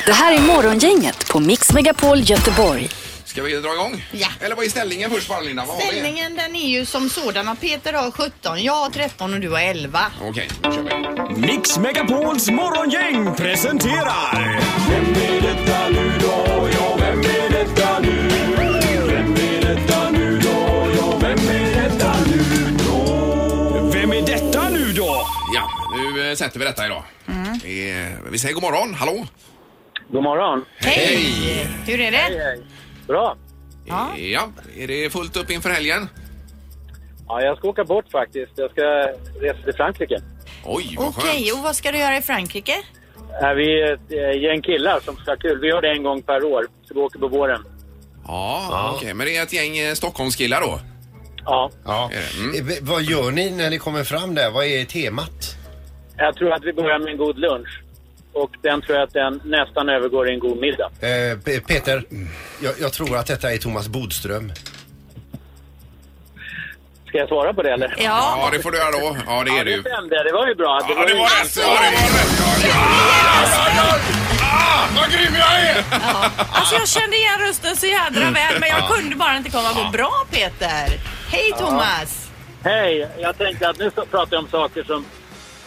Speaker 1: Det här är Morgongänget på Mix Megapol Göteborg.
Speaker 3: Ska vi dra igång?
Speaker 11: Ja.
Speaker 3: Eller vad är ställningen först bara Linda? Vad har vi?
Speaker 11: Ställningen den är ju som sådan att Peter har 17, jag har 13 och du har 11.
Speaker 3: Okej, då kör vi.
Speaker 14: Mix Megapols morgongäng presenterar... Vem är detta nu då? Ja, vem är detta nu? Vem är detta nu då? Ja, vem är detta nu då? Vem är detta nu då?
Speaker 3: Ja, nu eh, sätter vi detta idag.
Speaker 4: Mm.
Speaker 3: Eh, Vi säger god morgon, hallå?
Speaker 13: God morgon.
Speaker 4: Hej! Hur är det?
Speaker 13: Bra.
Speaker 4: Ja.
Speaker 3: Ja, är det fullt upp inför helgen?
Speaker 13: Ja, jag ska åka bort faktiskt. Jag ska resa till Frankrike.
Speaker 3: Oj, vad skönt.
Speaker 4: Okej, och vad ska du göra i Frankrike?
Speaker 13: Är vi är ett eh, gäng killar som ska ha kul. Vi gör det en gång per år, så vi åker på våren.
Speaker 3: Ja, okej. Men det är ett gäng eh, Stockholmskillar då?
Speaker 15: Ja.
Speaker 5: Ja. Eh, Vad gör ni när ni kommer fram där? Vad är temat?
Speaker 15: Jag tror att vi börjar med en god lunch. Och den tror jag att den nästan övergår i en god middag.
Speaker 5: Eh, Pe- Peter, jag, jag tror att detta är Thomas Bodström.
Speaker 15: Ska jag svara på det eller?
Speaker 3: Ja, det får du göra då. Ja, det är det ju.
Speaker 15: Det stämde, det var ju bra. Det var ju-
Speaker 3: Vad grym jag är!
Speaker 4: Alltså jag kände igen rösten så jädra väl men jag
Speaker 15: Ja.
Speaker 4: kunde bara inte komma på. Bra Peter! Hej
Speaker 15: Ja.
Speaker 4: Thomas!
Speaker 15: Hej! Jag tänkte att nu så pratar jag om saker som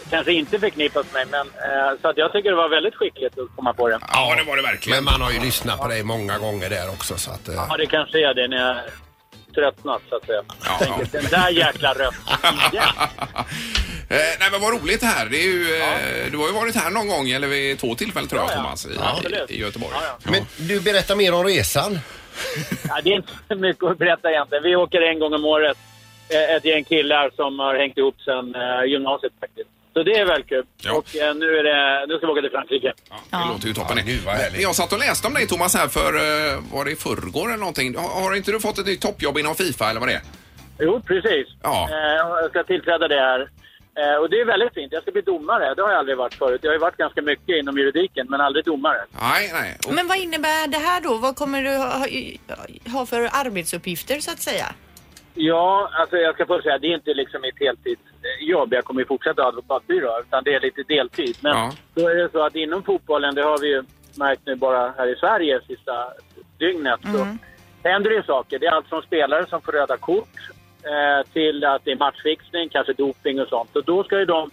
Speaker 15: kanske inte förknippas med mig, men eh, så att jag tycker det var väldigt skickligt att komma på det.
Speaker 3: Ja, det var det verkligen.
Speaker 5: Men man har ju lyssnat på dig många gånger där också så att... eh,
Speaker 15: Ja, det kanske är det när jag tröttnat så att säga. Tänker, Den där jäkla rösten.
Speaker 3: Eh, nej men vad roligt det här. Det är ju, eh, Du har ju varit här någon gång, eller vid två tillfällen tror jag Thomas, i, i, i Göteborg.
Speaker 5: Men du berättar mer om resan.
Speaker 15: Ja, det är inte så mycket att berätta egentligen. Vi åker en gång om året, eh, ett gäng killar som har hängt ihop sedan eh, gymnasiet faktiskt. Så det är väl kul. Och eh, nu, är det, nu ska vi åka till Frankrike.
Speaker 3: Det låter ju toppen. Men- men jag satt och läste om dig Thomas här för, eh, var det i förrgår eller någonting? Har, har inte du fått ett nytt toppjobb inom Fifa eller vad det är?
Speaker 15: Jo, precis.
Speaker 3: Ja.
Speaker 15: Eh, och jag ska tillträda det här. Eh, och det är väldigt fint. Jag ska bli domare. Det har jag aldrig varit förut. Jag har ju varit ganska mycket inom juridiken, men aldrig domare.
Speaker 3: Nej, nej. Oh,
Speaker 4: Men vad innebär det här då? Vad kommer du ha, ha- ha för arbetsuppgifter så att säga?
Speaker 15: Ja, alltså jag ska först säga, det är inte liksom mitt heltidsjobb. Jag kommer ju fortsätta ha advokatbyrå, utan det är lite deltid. Men
Speaker 3: Ja.
Speaker 15: då är det så att inom fotbollen, det har vi ju märkt nu bara här i Sverige sista dygnet, så händer det ju saker. Det är allt från spelare som får röda kort eh, till att det är matchfixning, kanske doping och sånt. Och då ska ju de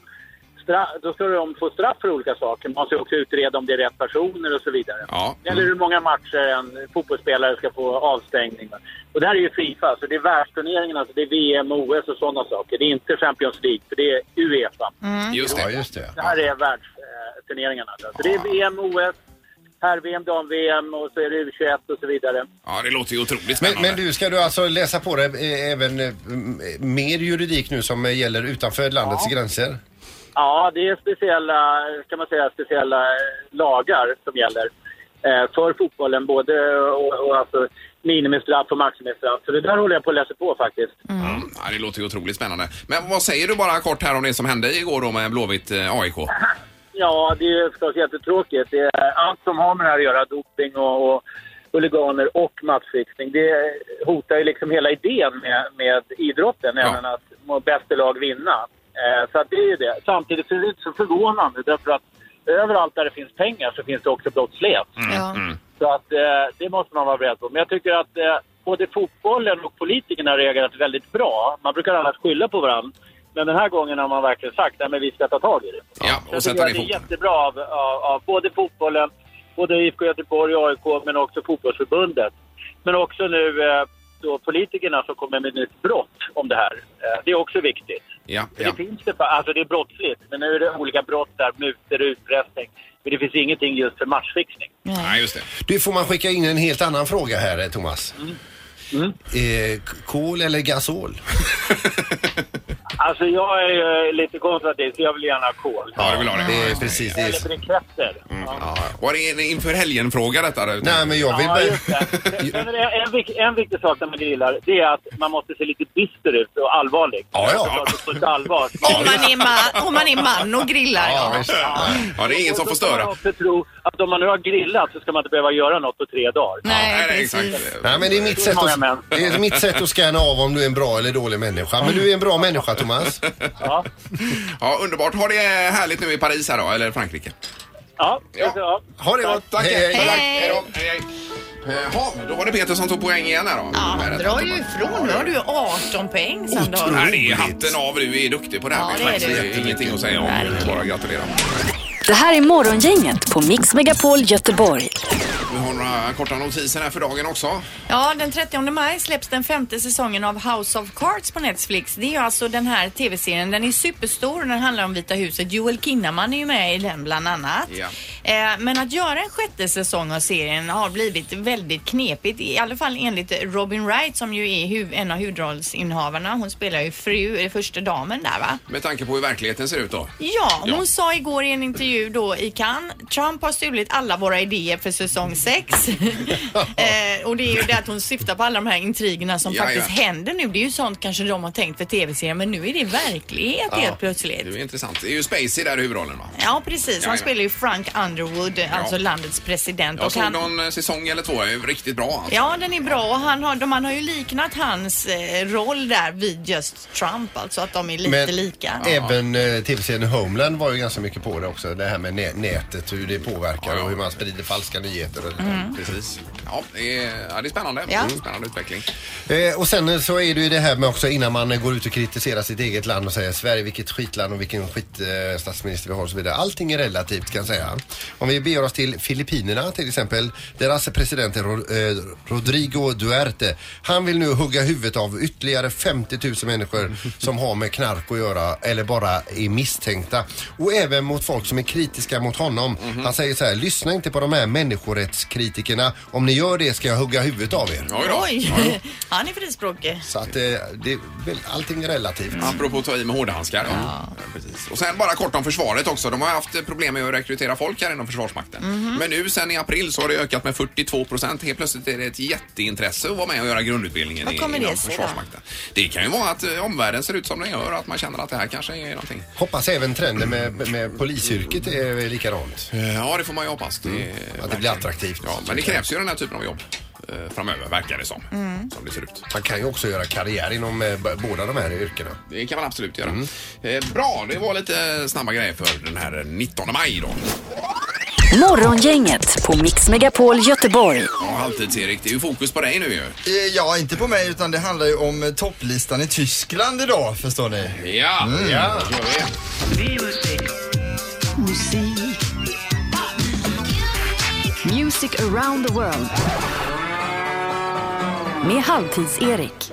Speaker 15: stra- då ska de få straff för olika saker. Man ska också utreda om det är rätt personer och så vidare.
Speaker 3: Ja.
Speaker 15: Eller hur många matcher en fotbollsspelare ska få avstängning. Och det här är ju Fifa, så det är världsturneringarna, så det är VM, och OS och sådana saker. Det är inte Champions League, för det är Uefa.
Speaker 3: Just det.
Speaker 5: Ja, just det.
Speaker 15: Det här är världsturneringarna. Så det är VM, OS, herr-VM, dam-VM och så är det U21 och så vidare.
Speaker 3: Ja, det låter ju otroligt
Speaker 5: Men,
Speaker 3: spännande.
Speaker 5: men du, ska du alltså läsa på det eh, även eh, mer juridik nu som eh, gäller utanför landets gränser?
Speaker 15: Ja, det är speciella, kan man säga, speciella eh, lagar som gäller eh, för fotbollen. Både och, och alltså minimistraff och maximistraff. Så det där håller jag på att läsa på faktiskt.
Speaker 5: Mm.
Speaker 3: Ja, det låter ju otroligt spännande. Men vad säger du bara kort här om det som hände igår då med Blåvitt eh, AIK?
Speaker 15: Ja, det är ju förstås jättetråkigt. Det är allt som har med det här att göra, doping och, och huliganer och matchfixning, det hotar ju liksom hela idén med, med idrotten, även att må bästa lag vinna. Eh, så att det är ju det. Samtidigt så är det inte så förvånande därför att överallt där det finns pengar så finns det också brottslighet. Så att eh, det måste man vara beredd på. Men jag tycker att eh, både fotbollen och politikerna har reagerat väldigt bra. Man brukar annars skylla på varandra. Men den här gången har man verkligen sagt att vi ska ta tag i det.
Speaker 3: Ja,
Speaker 15: Jag
Speaker 3: och
Speaker 15: tycker
Speaker 3: sätta
Speaker 15: att
Speaker 3: ner
Speaker 15: det är
Speaker 3: foten.
Speaker 15: jättebra av, av, av både fotbollen, både IFK Göteborg och AIK, men också fotbollsförbundet. Men också nu eh, då politikerna som kommer med nytt brott om det här. Eh, det är också viktigt.
Speaker 3: Ja,
Speaker 15: För
Speaker 3: ja.
Speaker 15: Det finns det, fa- alltså det är brottsligt, men nu är det olika brott där, mutor och utpressning. Men det finns ingenting just för matchfixning.
Speaker 3: Nej, just det.
Speaker 5: Du, får man skicka in en helt annan fråga här, eh, Thomas?
Speaker 15: Mm.
Speaker 5: Eh, k- kol eller gasol?
Speaker 15: Alltså jag är ju lite konservativ, så jag vill gärna ha kol.
Speaker 3: Ja, du vill ha det.
Speaker 5: Det är precis det.
Speaker 15: Eller briketter.
Speaker 3: Mm. Var det en inför helgen-fråga detta?
Speaker 5: Nej, men jag vill
Speaker 15: Ja,
Speaker 5: bara-
Speaker 15: just det. Men det är en, vik- en viktig sak när man grillar, det är att man måste se lite bister ut och allvarlig.
Speaker 5: Ja, ja.
Speaker 15: Så att det får ett allvar.
Speaker 4: Om man är man, om man, är man och grillar ja.
Speaker 3: Ja, det är ingen som får
Speaker 15: Och då ska
Speaker 3: störa.
Speaker 15: man också tro att om man nu har grillat så ska man inte behöva göra något på tre dagar.
Speaker 4: Nej,
Speaker 5: Nej, men det är mitt sätt
Speaker 15: många
Speaker 5: att,
Speaker 15: män.
Speaker 5: det är mitt sätt att scanna av om du är en bra eller dålig människa. Men du är en bra människa, Thomas.
Speaker 15: Ja.
Speaker 3: ja, underbart. Har det härligt nu i Paris här då, eller Frankrike?
Speaker 15: Ja,
Speaker 3: ja.
Speaker 5: Ha det gott.
Speaker 3: Tack.
Speaker 5: Hej, hej.
Speaker 3: Tack. Hej, då. hej. hej. Eh, Ja, då var det Peter som tog poäng igen här då.
Speaker 4: Han drar ju ifrån. Nu har du ju 18 poäng sen då.
Speaker 3: Nej, det är hatten av. Du är duktig på det här.
Speaker 4: Ja, det är
Speaker 3: Peter.
Speaker 4: du.
Speaker 3: det är ingenting att säga om. Bara gratulera.
Speaker 1: Det här är Morgongänget på Mix Megapol Göteborg.
Speaker 3: Vi har några korta notiser här för dagen också.
Speaker 4: Ja, den 30 maj släpps den femte säsongen av House of Cards på Netflix. Det är ju alltså den här tv-serien. Den är superstor och den handlar om Vita huset. Joel Kinnaman är ju med i den bland annat.
Speaker 13: Ja.
Speaker 4: Eh, Men att göra en sjätte säsong av serien har blivit väldigt knepigt. I alla fall enligt Robin Wright som ju är hu- en av huvudrollsinnehavarna. Hon spelar ju fru, eller första damen där va?
Speaker 3: Med tanke på hur verkligheten ser ut då.
Speaker 4: Ja, hon sa igår i en intervju då i Cannes, Trump har stulit alla våra idéer för säsong 6. eh, och det är ju det att hon syftar på alla de här intrigerna som
Speaker 3: Ja,
Speaker 4: faktiskt
Speaker 3: ja.
Speaker 4: händer nu. Det är ju sånt kanske de har tänkt för tv-serien men nu är det verklighet
Speaker 3: Ja.
Speaker 4: helt plötsligt.
Speaker 3: Det är ju intressant. Det är ju Spacey där i huvudrollen va?
Speaker 4: Ja precis, han
Speaker 3: Jajamän.
Speaker 4: spelar ju Frank Underwood, alltså landets president.
Speaker 3: Jag
Speaker 4: och
Speaker 3: såg
Speaker 4: han...
Speaker 3: någon eh, säsong eller två, är ju riktigt bra alltså.
Speaker 4: Ja, den är bra och han har, de, man har ju liknat hans eh, roll där vid just Trump, alltså att de är lite lika.
Speaker 5: även eh, tv-serien Homeland var ju ganska mycket på det också. Det här med nä- nätet, hur det påverkar och hur man sprider falska nyheter. och-
Speaker 3: Mm. Precis. Ja, det är, ja, det är spännande.
Speaker 5: Ja.
Speaker 3: Mm. Spännande utveckling.
Speaker 5: Eh, och sen eh, så är det ju det här med också innan man eh, går ut och kritiserar sitt eget land och säger Sverige vilket skitland och vilken skit eh, statsminister vi har och så vidare. Allting är relativt kan jag säga. Om vi beger oss till Filippinerna till exempel. Deras president är Ro- eh, Rodrigo Duterte. Han vill nu hugga huvudet av ytterligare 50 000 människor som har med knark att göra eller bara är misstänkta. Och även mot folk som är kritiska mot honom. Han säger så här, lyssna inte på de här människorättskritikerna. Om ni gör det ska jag hugga huvudet av er.
Speaker 4: Oj, han är frispråkig.
Speaker 5: Så att det, det, är väl- allting är relativt.
Speaker 3: Apropå att ta i med hårdhandskar. Ja. Ja, precis. Och sen bara kort om försvaret också. De har haft problem med att rekrytera folk här inom Försvarsmakten.
Speaker 16: Mhm.
Speaker 3: Men nu sen i april så har det ökat med 42 procent. Helt plötsligt är det ett jätteintresse att vara med och göra grundutbildningen
Speaker 4: Vad
Speaker 3: i-
Speaker 4: kommer det
Speaker 3: inom
Speaker 4: sig då?
Speaker 3: Försvarsmakten. Det kan ju vara att eh, omvärlden ser ut som den gör och att man känner att det här kanske är någonting.
Speaker 5: Hoppas även trenden med, med polisyrket är likadant.
Speaker 3: Ja, det får man ju hoppas. Det,
Speaker 5: Att det blir attraktivt.
Speaker 3: Ja, men det krävs ju den här typen av jobb eh, framöver, verkar det som.
Speaker 5: Mm.
Speaker 3: Som det ser ut.
Speaker 5: Man kan ju också göra karriär inom eh, b- båda de här yrkena.
Speaker 3: Det kan man absolut göra. Eh, bra, det var lite snabba grejer för den här 19 maj då.
Speaker 1: Morgongänget på Mix Megapol Göteborg.
Speaker 3: Ja, Halvtids-Erik, det är ju fokus på dig nu ju.
Speaker 12: Eh, Ja, inte på mig utan det handlar ju om eh, topplistan i Tyskland idag förstår ni.
Speaker 3: Ja,
Speaker 12: Mm.
Speaker 3: ja, gör vi.
Speaker 1: Musik. Music around the world. Med Halvtids-Erik.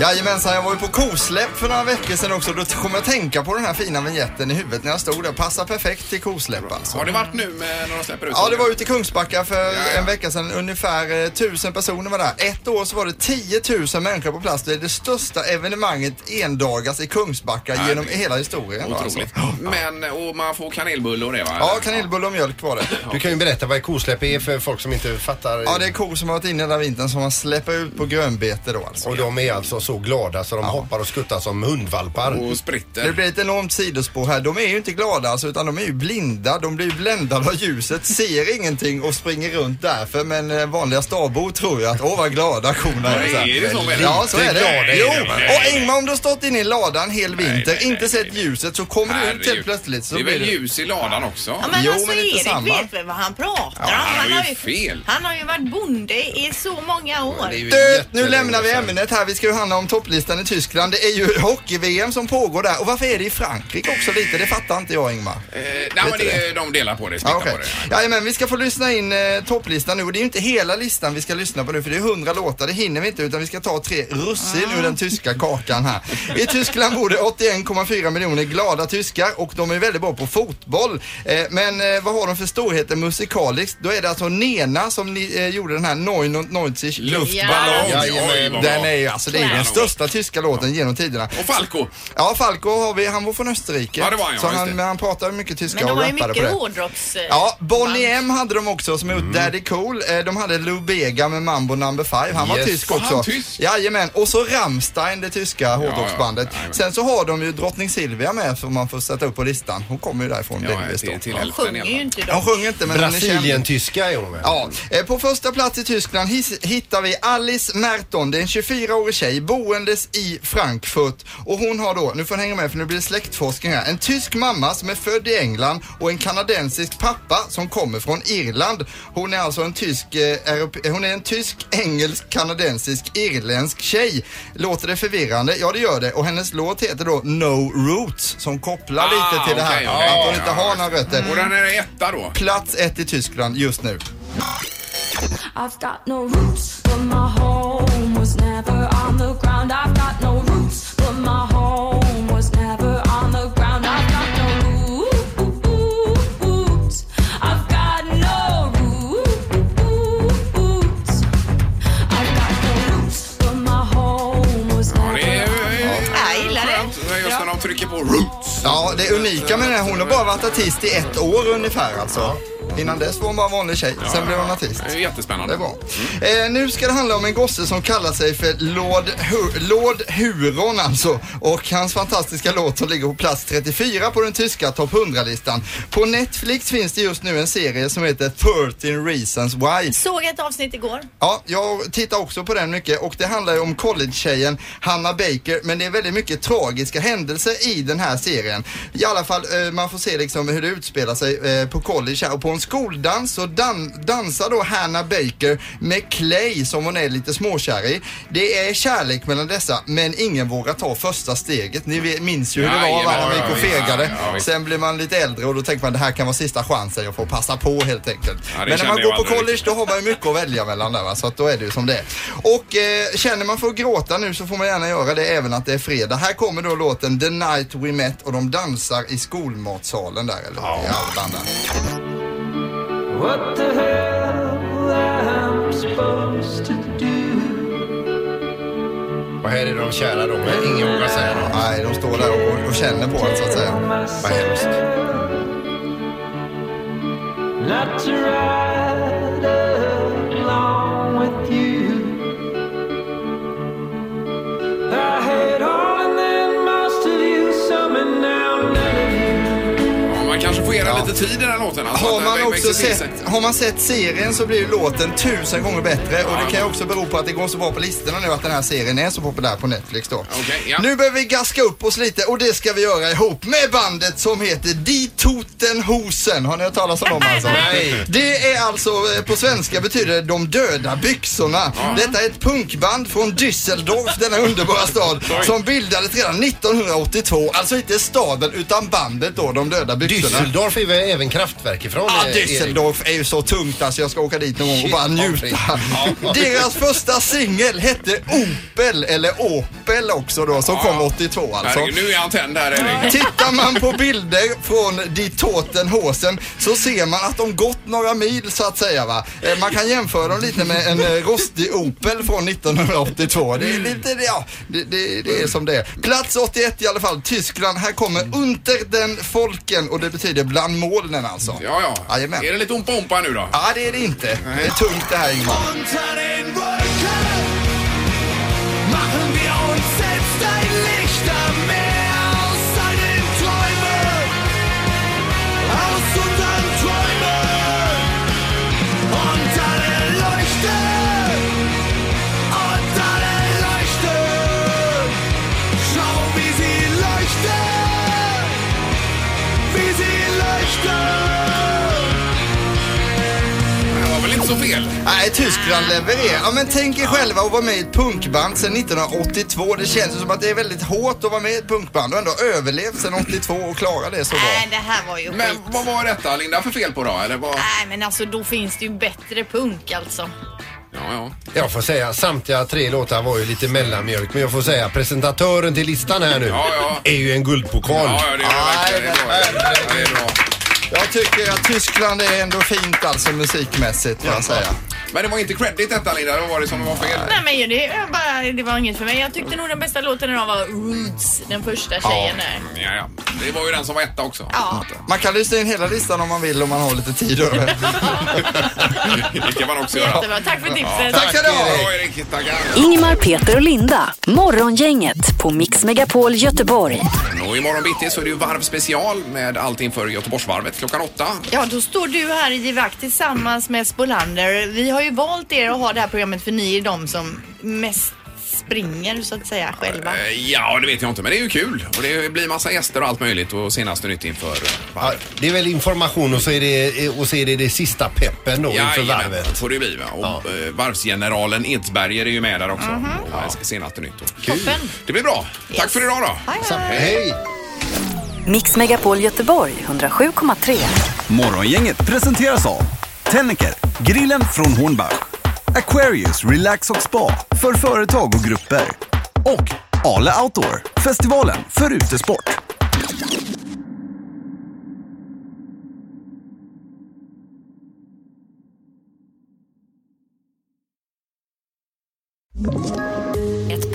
Speaker 12: Jajamensan, jag var ju på kosläpp för några veckor sedan också. Då kom jag att tänka på den här fina vignetten i huvudet när jag stod där. Passar perfekt till kosläpp alltså.
Speaker 3: Har det varit nu med några släpper ut?
Speaker 12: Ja, det var ute i Kungsbacka för en vecka sedan. Ungefär eh, 1000 personer var där. Ett år så var det 10 000 människor på plats. Det är det största evenemanget endagars i Kungsbacka
Speaker 3: Nej,
Speaker 12: genom
Speaker 3: det-
Speaker 12: hela historien. va, alltså.
Speaker 3: Otroligt. Men, och man får kanelbulle och det va?
Speaker 12: Ja, kanelbulle och mjölk var det.
Speaker 5: Du kan ju berätta vad kosläpp är för folk som inte fattar.
Speaker 12: Ja, det är kor som har varit inne hela vintern som man släpper ut på grönbete då alltså.
Speaker 5: Och de är alltså så glada så de hoppar och skuttar som hundvalpar.
Speaker 3: Och spritter.
Speaker 12: Det blir ett enormt sidospår här. De är ju inte glada alltså, utan de är ju blinda. De blir ju bländade av ljuset, ser ingenting och springer runt därför. Men eh, vanliga stadbor tror ju att åh vad glada korna är.
Speaker 3: Nej,
Speaker 12: här.
Speaker 3: är det så väl?
Speaker 12: Ja, så är
Speaker 3: Lite glada
Speaker 12: det.
Speaker 3: är de,
Speaker 12: Jo,
Speaker 3: men-
Speaker 12: och Ingmar om du har stått inne i ladan hel vinter, inte sett ljuset, så kommer du ut helt plötsligt så
Speaker 3: det är väl
Speaker 12: blir det...
Speaker 3: ljus i ladan också?
Speaker 4: Ja, men alltså Erik vet väl vad han pratar om?
Speaker 3: han har ju
Speaker 4: ju-
Speaker 3: fel.
Speaker 4: Han har ju varit bonde i så många år.
Speaker 12: Död, nu lämnar vi ämnet här. Vi ska ju handla om topplistan i Tyskland. Det är ju hockey-VM som pågår där. Och varför är det i Frankrike också lite? Det fattar inte jag Ingmar.
Speaker 3: Eh, nej, men det, de delar på det, smittar
Speaker 12: Ja, Ah, okej.
Speaker 3: på det.
Speaker 12: Jajamän, vi ska få lyssna in eh, topplistan nu och det är ju inte hela listan vi ska lyssna på nu för det är 100 låtar, det hinner vi inte utan vi ska ta tre russin ur den tyska kakan här. I Tyskland bor det 81,4 miljoner glada tyskar och de är väldigt bra på fotboll. Eh, men eh, vad har de för storheter musikaliskt? Då är det alltså Nena som ni, eh, gjorde den här Neun och Neunzig Luftballon.
Speaker 5: Ja. Jajamän, vad bra.
Speaker 12: Den är ju alltså, det är ju den största tyska låten genom tiderna.
Speaker 3: Och Falco.
Speaker 12: Ja, Falco har vi, han var från Österrike.
Speaker 3: Ja, det var han, ja,
Speaker 12: så
Speaker 3: just
Speaker 12: han,
Speaker 3: det.
Speaker 12: men han pratade mycket tyska
Speaker 4: Men de
Speaker 12: och
Speaker 4: har ju
Speaker 12: rappade på det.
Speaker 4: mycket hårdrocks... eh,
Speaker 12: Ja, Bonnie M hade de också som gjort Daddy Cool. Eh, De hade Lou Bega med Mambo Number Five. Han var
Speaker 5: Yes.
Speaker 12: tysk
Speaker 5: Var
Speaker 12: också.
Speaker 5: han tysk?
Speaker 12: Jajamän. Och så Rammstein, det tyska hårdrocksbandet. Sen så har de ju drottning Silvia med som man får sätta upp på listan. Hon kommer ju därifrån delvis då.
Speaker 4: De sjunger ju inte
Speaker 12: De sjunger inte men hon är känd.
Speaker 5: Brasilien-tyska är hon väl?
Speaker 12: Ja, eh, på första plats i Tyskland his- hittar vi Alice Merton. Det är en 24-årig tjej boendes i Frankfurt. Och hon har då, nu får ni hänga med för nu blir det släktforskning här, en tysk mamma som är född i England och en kanadensisk pappa som kommer från Irland. Hon är alltså en tysk, eh, europe- eh, hon är en tysk, engelsk, kanadensisk, irländsk tjej. Låter det förvirrande? Ja, det gör det. Och hennes låt heter då No Roots som kopplar lite till det här.
Speaker 3: okej, okej.
Speaker 12: Att hon inte har några rötter.
Speaker 3: Och den är etta då?
Speaker 12: Plats ett i Tyskland just nu.
Speaker 17: I've got no roots, but my home was never on the ground. I've got no roots, but my home was never on the ground. I've got no roots. I've got no roots. I've got no roots, but my home was never on the
Speaker 4: Jag gillar det.
Speaker 3: Just när de trycker på roots.
Speaker 12: Ja, det unika med den här, hon har bara varit artist i ett år ungefär alltså. Innan dess var hon bara vanlig tjej. Sen blev hon artist.
Speaker 3: Det är jättespännande.
Speaker 12: Det var. Eh, nu ska det handla om en gosse som kallar sig för Lord, Hu- Lord Huron alltså. Och hans fantastiska låt som ligger på plats 34 på den tyska topp 100-listan. På Netflix finns det just nu en serie som heter 13 Reasons Why.
Speaker 4: Såg ett avsnitt igår.
Speaker 12: Ja, jag tittar också på den mycket och det handlar ju om college-tjejen Hanna Baker men det är väldigt mycket tragiska händelser i den här serien. I alla fall, eh, man får se liksom hur det utspelar sig eh, på college här och på en skoldans så dan- dansar då Hanna Baker med Clay som hon är lite småkär i. Det är kärlek mellan dessa men ingen vågar ta första steget. Ni vet- minns ju hur det var
Speaker 5: Jajamän,
Speaker 12: va, när man
Speaker 5: ja,
Speaker 12: gick och
Speaker 5: visst.
Speaker 12: fegade.
Speaker 5: Ja, visst.
Speaker 12: Sen blir man lite äldre och då tänker man det här kan vara sista chansen, jag får passa på helt enkelt.
Speaker 5: Ja, det
Speaker 12: men när man
Speaker 5: känner jag
Speaker 12: går på
Speaker 5: aldrig
Speaker 12: college då har man ju mycket att välja mellan där va? så att då är det ju som det är. Och eh, känner man för att gråta nu så får man gärna göra det även att det är fredag. Här kommer då låten The Night We Met och de dansar i skolmatsalen där eller i Allan där.
Speaker 14: What the hell am I supposed to do?
Speaker 5: Och här är de kära då, men ingen vågar säga något.
Speaker 12: Nej, de står där och, och känner på det så att säga.
Speaker 5: Vad hemskt.
Speaker 14: Not to ride along with you. I had all and then most of you, some and now none of you.
Speaker 3: Ja, man kanske får ge den lite tid i den här låten. Alltså,
Speaker 12: Har
Speaker 3: att
Speaker 12: man,
Speaker 3: den
Speaker 12: också
Speaker 3: växer till sig.
Speaker 12: sett, har man sett serien så blir ju låten tusen gånger bättre och det kan ju också bero på att det går så bra på listorna nu att den här serien är så populär på Netflix då. Nu behöver vi gaska upp oss lite och det ska vi göra ihop med bandet som heter Die Toten Hosen. Har ni hört talas om dem alltså?
Speaker 5: Nej.
Speaker 12: Det är alltså, eh, på svenska betyder det de döda byxorna. Detta är ett punkband från Düsseldorf, denna underbara stad,
Speaker 5: Oj.
Speaker 12: som bildades redan 1982. Alltså inte staden utan bandet då, de döda byxorna.
Speaker 5: Düsseldorf är väl även kraftverk ifrån?
Speaker 12: Ja,
Speaker 5: eh, Erik?
Speaker 12: Düsseldorf är ju så tungt alltså. Jag ska åka dit någon gång och
Speaker 5: Shit,
Speaker 12: bara
Speaker 5: vad
Speaker 12: njuta.
Speaker 5: fint. Ja.
Speaker 12: Deras första singel hette Opel, eller Opel också då, som kom 82 alltså.
Speaker 3: Herregud, nu är han tänd här Erik.
Speaker 12: Tittar man på bilder från Die Toten Hosen så ser man att de gått några mil så att säga va. Eh, Man kan jämföra dem lite med en eh, rostig Opel från 1982. Det är lite, ja, det, det, det är som det är. Plats 81 i alla fall, Tyskland. Här kommer Unter den Folken och det betyder bland molnen alltså.
Speaker 3: Ja, ja.
Speaker 12: Jajamän.
Speaker 3: Är det lite ompa-ompa nu då?
Speaker 12: Ja, det är det inte. Det är tungt det här Ingmar.
Speaker 14: Unter den Wolken machen wir uns selbst ein Licht am Meer aus seinen Träumen, aus unseren Träumen. Unter der Leuchte, unter der Leuchte, schau wie sie leuchtet, wie sie leuchtet.
Speaker 3: Det var väl inte så fel?
Speaker 12: Nej, Tyskland levererar. Ja, men tänk er själva att vara med i ett punkband sedan 1982. Det känns ju som att det är väldigt hårt att vara med i ett punkband och ändå överlevt sedan 82 och klara det så bra.
Speaker 4: Nej, det här var ju
Speaker 3: Men
Speaker 4: skit.
Speaker 3: vad var detta Linda för fel på då? Eller vad?
Speaker 4: Nej, men alltså då finns det ju bättre punk alltså.
Speaker 3: Ja, ja.
Speaker 5: Jag får säga, samtliga tre låtar var ju lite mellanmjölk, men jag får säga presentatören till listan här nu är ju en guldpokal.
Speaker 3: Ja, ja, det är det verkligen. Det är bra. Det är bra.
Speaker 12: Jag tycker att Tyskland är ändå fint alltså musikmässigt får jag säga.
Speaker 3: Men det var inte credit detta Linda, vad var det som var fel?
Speaker 4: Nej men det, är bara, det var inget för mig. Jag tyckte nog den bästa låten idag var Roots, den första tjejen där.
Speaker 3: Ja, ja. Det var ju den som var etta också.
Speaker 4: Ja.
Speaker 12: Man kan lyssna in hela listan om man vill om man har lite tid över.
Speaker 3: Det kan man också göra.
Speaker 4: Jättebra, tack för tipset.
Speaker 3: Tack ska du ha.
Speaker 1: Erik.
Speaker 3: Ja, Erik. Tackar.
Speaker 1: Ingemar, Peter och Linda. Morgongänget på Mix Megapol Göteborg.
Speaker 3: Och imorgon bitti så är det ju varvspecial med allt inför Göteborgsvarvet klockan åtta.
Speaker 4: Ja, då står du här i Givakt tillsammans med Spolander. Vi har ju valt er att ha det här programmet för ni är de som mest springer så att säga själva.
Speaker 3: Eh, Ja, det vet jag inte, men det är ju kul. Och det blir massa gäster och allt möjligt och senaste nytt inför
Speaker 5: Ja, det är väl information och så är det, och så är det, det sista peppen då inför
Speaker 3: Jajamän,
Speaker 5: varvet.
Speaker 3: får det ju bli. Va? Och eh, varvsgeneralen Edsberger är ju med där också. Och eh, Senaste nytt. Och- Det blir bra. Tack för idag då.
Speaker 5: Hej.
Speaker 1: Mix Megapol Göteborg 107,3.
Speaker 2: Morgongänget presenteras av Tennicker, grillen från Hornbach, Aquarius Relax och Spa för företag och grupper och Ale Outdoor, festivalen för utesport.
Speaker 16: Ett